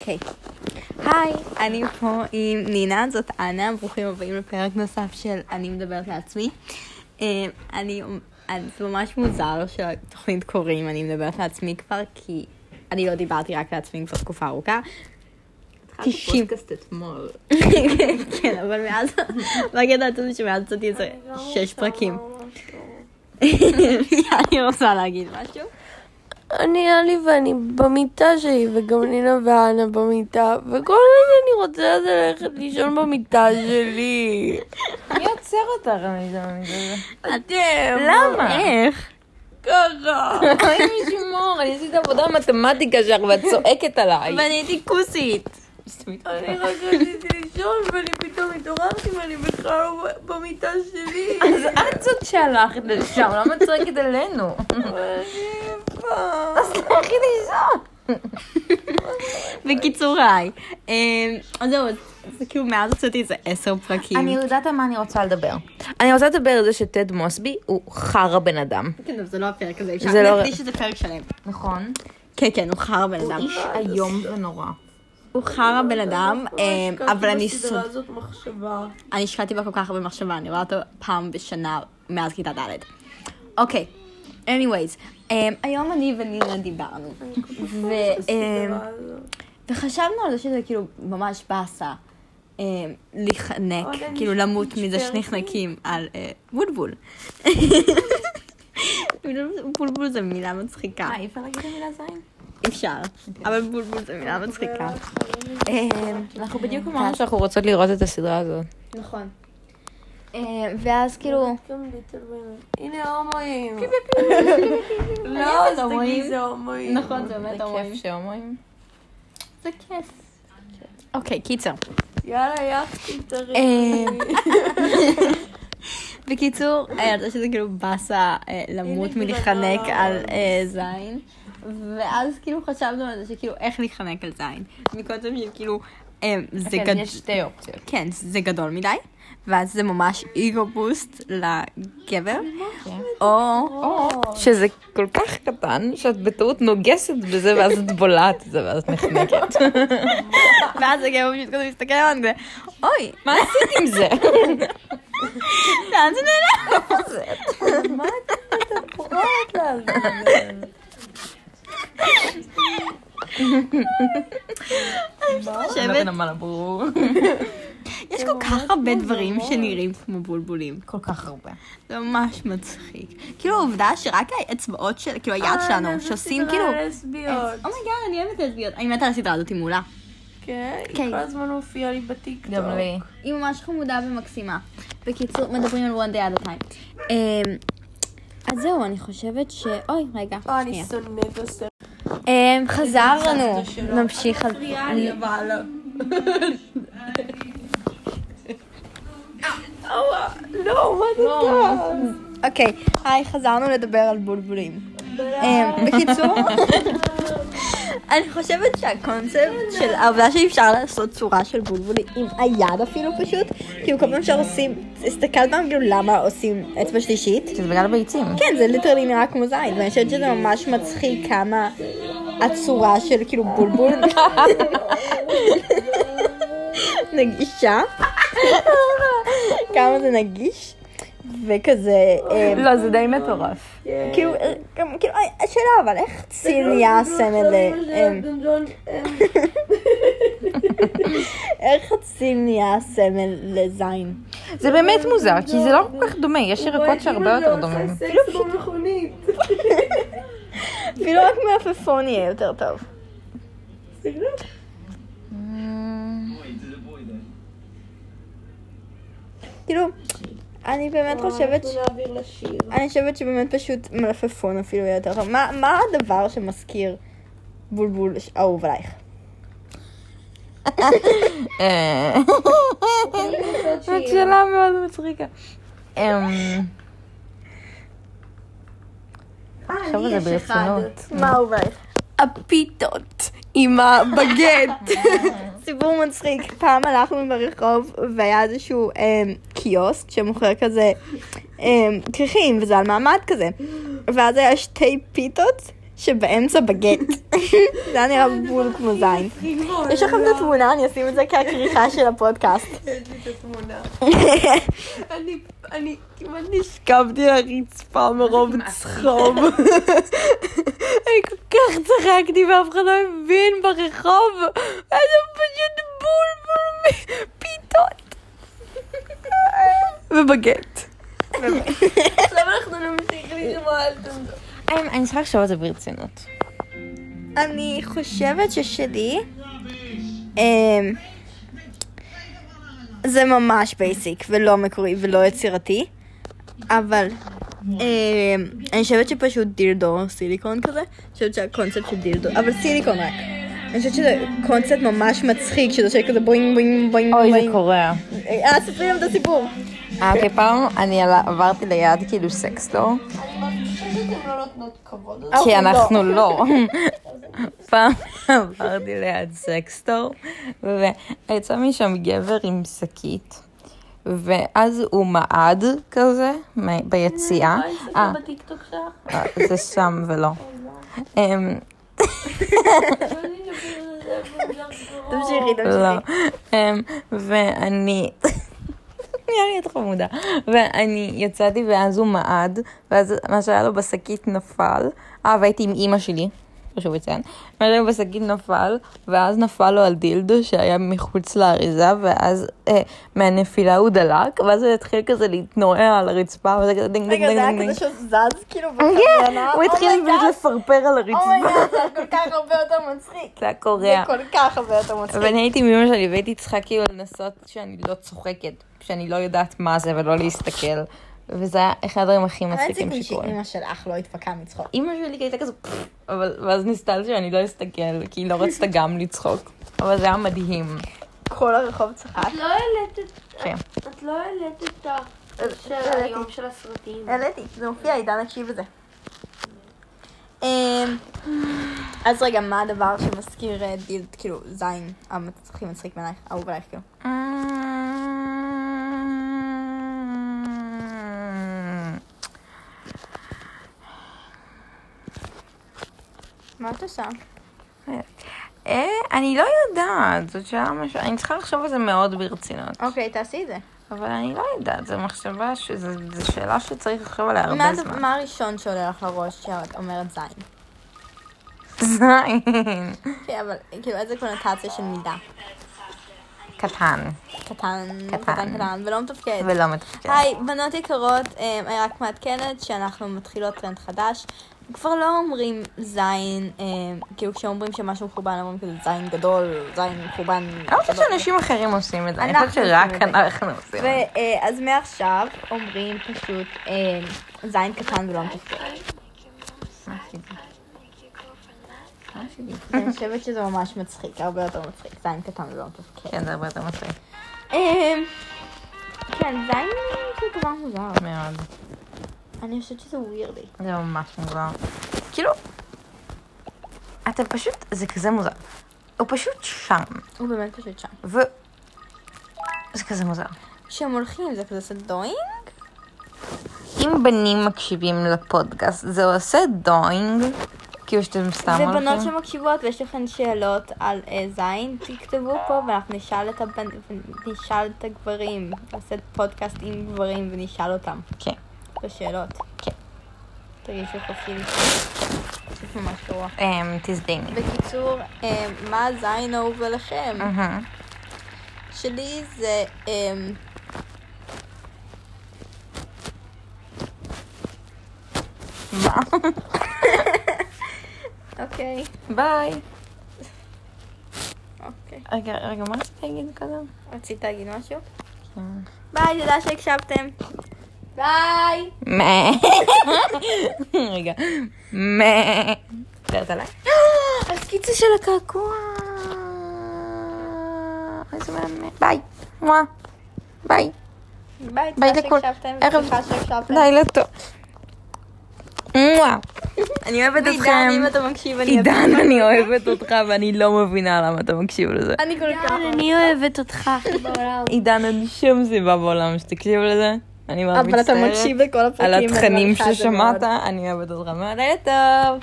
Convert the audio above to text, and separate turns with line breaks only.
אוקיי. היי, אני פה עם נינה, זאת אנה, ברוכים הבאים לפרק נוסף של אני מדברת לעצמי. אה, אני, אז זה ממש מוזר שהתוכנית קוראים אני מדברת לעצמי כבר, כי אני לא דיברתי רק לעצמי כבר תקופה ארוכה.
התחלתי פודקאסט אתמול.
כן, אבל מאז, רק ידעתם שמאז עשיתי איזה
לא
לא
שש פרקים. אני רוצה להגיד משהו.
אני אלי ואני במיטה שלי, וגם נינה ואנה במיטה, וכל מה שאני רוצה זה ללכת לישון במיטה שלי.
מי עוצר אותך המזמן הזה?
אתם!
למה?
איך?
ככה!
אלוהים ישמור, אני עשיתי עבודה במתמטיקה שלך ואת צועקת עליי.
ואני הייתי כוסית.
אני רק רציתי לישון, ואני פתאום התעוררתי ואני בכלל לא במיטה שלי.
אז את זאת שהלכת לשם, למה את צועקת עלינו? אז לכי לישון.
בקיצור היי. אמ, אז זהו, אז- אז כאילו מאז הוצאתי איזה עשר פרקים.
אני יודעת על מה אני רוצה לדבר. אני רוצה לדבר על זה שטד מוסבי הוא חרא בן אדם.
כן, אבל זה לא הפרק הזה, אפשר
זה לא-
להקדיש איזה פרק שלם.
נכון.
כן, כן, הוא חרא בן
הוא
אדם.
איש איום ונורא.
הוא חרא בן אדם,
לא
אמ, אבל אני סוד-
זאת מחשבה.
אני השקעתי בה כל כך הרבה מחשבה, אני רואה אותו פעם בשנה מאז כיתה ד'. אוקיי, anyways, אמ, היום אני ונינה דיברנו. ו- אמ, וחשבנו על זה שזה כאילו ממש באסה אה, להיחנק,
עוד אני
כאילו למות מזה
נשברת.
שנחנקים על אה, בולבול. בולבול זה מילה מצחיקה,
אה, אי אפשר להגיד המילה זין?
אפשר, אבל בולבול זה מילה מצחיקה. אה,
אנחנו בדיוק אמרנו שאנחנו רוצות לראות את הסדרה הזאת.
נכון. אה, ואז כאילו, כן,
הנה הומואים.
לא,
אז תגידי זה הומואים.
נכון, זה באמת הומואים.
שהומואים.
זה כיף. אוקיי, קיצר.
יאללה, יאכטים תראי.
אה, בקיצור, אה, זה שזה כאילו באסה אה, למות
הנה
כאילו,
מלהיחנק
גדול.
על אה, זין. ואז כאילו חשבנו על זה שכאילו איך להיחנק על זין. מקודם שכאילו אה, זה
כן,
גדול.
יש שתי אופציות.
כן, זה גדול מדי, ואז זה ממש איגו בוסט לגבר,
אוקיי.
או
או שזה כל כך קטן, שאת בטעות נוגסת בזה, ואז את בולעת את זה, ואז את נחנקת.
ואז הגבר פשוט כזה מסתכל עליו כזה, אוי,
מה עשית עם זה?
לאן זה נעלם? חושבת,
נתן אמר ברור.
יש כל כך הרבה דברים שנראים כמו בולבולים.
כל כך הרבה.
זה ממש מצחיק. כאילו העובדה שרק האצבעות של, כאילו היד
אה,
שלנו, שעושים כאילו...
לסביות.
אומייגאד, אני אוהבת לסביות. אני מתה על הסדרה הזאת עם מולה.
כן,
כן.
היא כל הזמן מופיעה לי בטיקטוק.
גם לי.
היא ממש חמודה ומקסימה. בקיצור, מדברים על one day at a time. אמ, אז זהו, אני חושבת ש... אוי, רגע,
אה,
שנייה.
אני שונאת עושה.
אמ, חזרנו. נמשיך. על-
ריאלי אבל. אווה, לא, מה זה טוב?
אוקיי, היי, חזרנו לדבר על בולבולים. אמ, בקיצור, אני חושבת שהקונספט של העובדה שאפשר לעשות צורה של בולבולים עם היד אפילו פשוט, כאילו כל פעם שעושים, הסתכלת פעם כאילו למה עושים אצבע שלישית?
שזה בגלל ביצים.
כן, זה ליטרלי נראה כמו זין, ואני חושבת שזה ממש מצחיק כמה הצורה של כאילו בולבול נגישה, כמה זה נגיש, וכזה, אמ,
לא, זה די מטורף.
כן.
כאילו, אה, גם- כאילו, אה, השאלה אבל איך ציל
לא
נהיה סמל, ל- אמ, אה, איך הציל נהיה סמל לזין?
זה באמת מוזר, כי זה לא כל כך דומה, יש ירקות שהרבה
כאילו
יותר דומים.
אפילו לא במכונית.
אפילו רק מעפפון יהיה יותר טוב. כאילו, אני באמת חושבת, ש-
נעביר לשיר.
אני חושבת שבאמת פשוט מלפפון אפילו יהיה יותר טוב. מה- מה הדבר שמזכיר בולבול ש- אהוב עלייך?
אה, זאת שאלה מאוד מצחיקה. אמ, עכשיו זה ברצינות.
מה אהוב עלייך?
הפיתות עם הבגט.
סיפור מצחיק, פעם הלכנו ברחוב והיה איזשהו אמ, קיוסק שמוכר כזה אמ, כריכים, וזה על מעמד כזה. ואז היה שתי פיתות שבאמצע בגט. זה היה נראה בול כמו זין.
אה,
יש
לא.
לכם
Oh
את התמונה, אני אשים את זה ככריכה של הפודקאסט.
אין לי את התמונה. אני, אני כמעט נשכבתי לרצפה מרוב צחוק. אני כל כך צחקתי ואף אחד לא הבין ברחוב. היה פשוט בול בול מפיתות. ובגט. עכשיו אנחנו נמשיך לשמוע על תמדות.
אמ, אני צריכה לחשוב על זה ברצינות.
אני חושבת ששלי... אמ, זה ממש בייסיק, ולא מקורי ולא יצירתי, אבל אמ, אני חושבת שפשוט דילדו, סיליקון כזה, אני חושבת שהקונספט של דילדו, אבל סיליקון רק. אני חושבת שזה קונספט ממש מצחיק, שזה עושה כזה בוינג בוינג בוינג
אוי,
בוינג.
זה קורע.
אה, ספרי לנו את הסיפור.
אה, אוקיי, פעם אני עלה- עברתי ליד כאילו סקסטור, כי אנחנו אה, לא. פעם עברתי ליד סקסטור, ויצא משם גבר עם שקית, ואז הוא מעד כזה מ- ביציאה. אה,
בטיקטוק שלך?
אה, זה שם ולא. אמ,
תמשיכי,
לא.
תמשיכי.
אמ, ואני... נראה לי את חמודה. ואני יצאתי ואז הוא מעד, ואז מה שהיה לו בשקית נפל. אה, והייתי עם אימא שלי, חשוב לציין. מה שהיה לו בשקית נפל, ואז נפל לו על דילדו שהיה מחוץ לאריזה, ואז אה, מהנפילה הוא דלק, ואז הוא התחיל כזה להתנועע על הרצפה, וזה כזה דינג דינג
רגע, זה
דינג
היה
דינג.
כזה Oh שזז כאילו בכוונה.
הוא התחיל פשוט לפרפר על הרצפה.
אומייגאד, Oh זה היה כל כך הרבה יותר מצחיק.
זה היה
זה
קורע.
כל כך הרבה יותר מצחיק.
ואני הייתי עם אמא שלי והייתי צריכה כאילו לנסות שאני לא צוחקת, שאני לא יודעת מה זה ולא להסתכל. וזה היה אחד הדברים הכי
אין
מצחיקים
סיכוי
שקורים.
שאימא שלך לא התפקעה מצחוק.
אמא שלי הייתה כזה "פפפ", אבל ואז ניסתה שאני לא אסתכל, כי היא לא רצתה גם לצחוק. אבל זה היה מדהים.
כל הרחוב צחק.
לא העלית את...
כן.
את לא העלית את ה... של
eh,
העליתי.
היום של הסרטים.
העליתי, זה מופיע, עידן הקשיב לזה. אמ, אז רגע, מה הדבר שמזכיר אה, דיל, כאילו, זין, המצ- הכי מצחיק בעינייך, אהוב עלייך, כאילו? מה את עושה?
אה, אני לא יודעת, זאת שאלה משהו, אני צריכה לחשוב על זה מאוד ברצינות.
אוקיי, תעשי את זה.
אבל אני לא יודעת, זו מחשבה, ש- זו זו שאלה שצריך לחשוב עליה
מה
הרבה
הד-
זמן.
מה הראשון שעולה לך לראש כשאת אומרת זין?
זין.
כן, אבל כאילו, איזה קונוטציה של מידה?
קטן,
קטן,
קטן.
קטן, קטן, ולא מתפקד.
ולא מתפקד.
היי, בנות יקרות, אה, אני רק מעדכנת שאנחנו מתחילות טרנד חדש. כבר לא אומרים זין, אה, כאילו כשאומרים שמשהו מחורבן, אומרים כאילו זין גדול, זין מחורבן.
אני לא חושבת
גדול.
שאנשים אחרים עושים את זה, אני
אנחנו
חושבת שרק
עושים את זה.
אנחנו עושים את זה.
ו- אה, אז מעכשיו אומרים פשוט אה, זין קטן ולא מתפקד.
מה עשיתי? מה עשיתי?
אני חושבת שזה ממש מצחיק, הרבה יותר מצחיק, זין קטן ולא מתפקד.
כן, זה הרבה יותר מצחיק.
אה, כן, זין זה דבר מוזר.
מאוד.
אני חושבת שזה ווירדי.
זה ממש מוזר. כאילו, אתם פשוט, זה כזה מוזר. הוא פשוט שם,
הוא באמת פשוט שם.
ו... זה כזה מוזר.
כשהם הולכים זה כזה סדוינג?
אם בנים מקשיבים לפודקאסט, זה עושה דוינג? כאילו שאתם סתם
זה בנות
הולכים?
שמקשיבות ויש לכן שאלות על אה, זין, תכתבו פה ואנחנו נשאל את, הבנ... נשאל את הגברים, נעשה פודקאסט עם גברים ונשאל אותם
כן.
את השאלות.
כן.
תרגישו חופשי. זה ממש גרוע.
אמ, תזדיין.
בקיצור, אה, מה זין אהוב עליכם?
מהמם.
שלי זה... אה,
מה?
אוקיי,
ביי.
אוקיי.
רגע, רגע, מה רציתי להגיד קודם?
רצית להגיד משהו? ביי, תודה שהקשבתם.
ביי!
מה? רגע. מה? מדברת עליי? הסקיצה של הקעקוע. איזה מהמם. ביי. מואה. ביי.
ביי,
ביי
תודה
לכל.
שהקשבתם.
ערב-
וסליחה שהקשבתם.
לילה לא טוב. מואה. אני אוהבת
ועידן,
אתכם.
אם אתה מקשיב, אני...
עידן, אני אוהבת אותך ואני לא מבינה למה אתה מקשיב לזה.
אני כל כך...
אני אוהבת אותך בעולם.
עידן, אין שום סיבה בעולם שתקשיב לזה. אני מאוד
אבל
מצטערת.
אתה מקשיב לכל הפרקים.
על
אני
התכנים
מעריכה את זה מאוד.
ששמעת, אני אוהבת אותך מאוד. לילה טוב.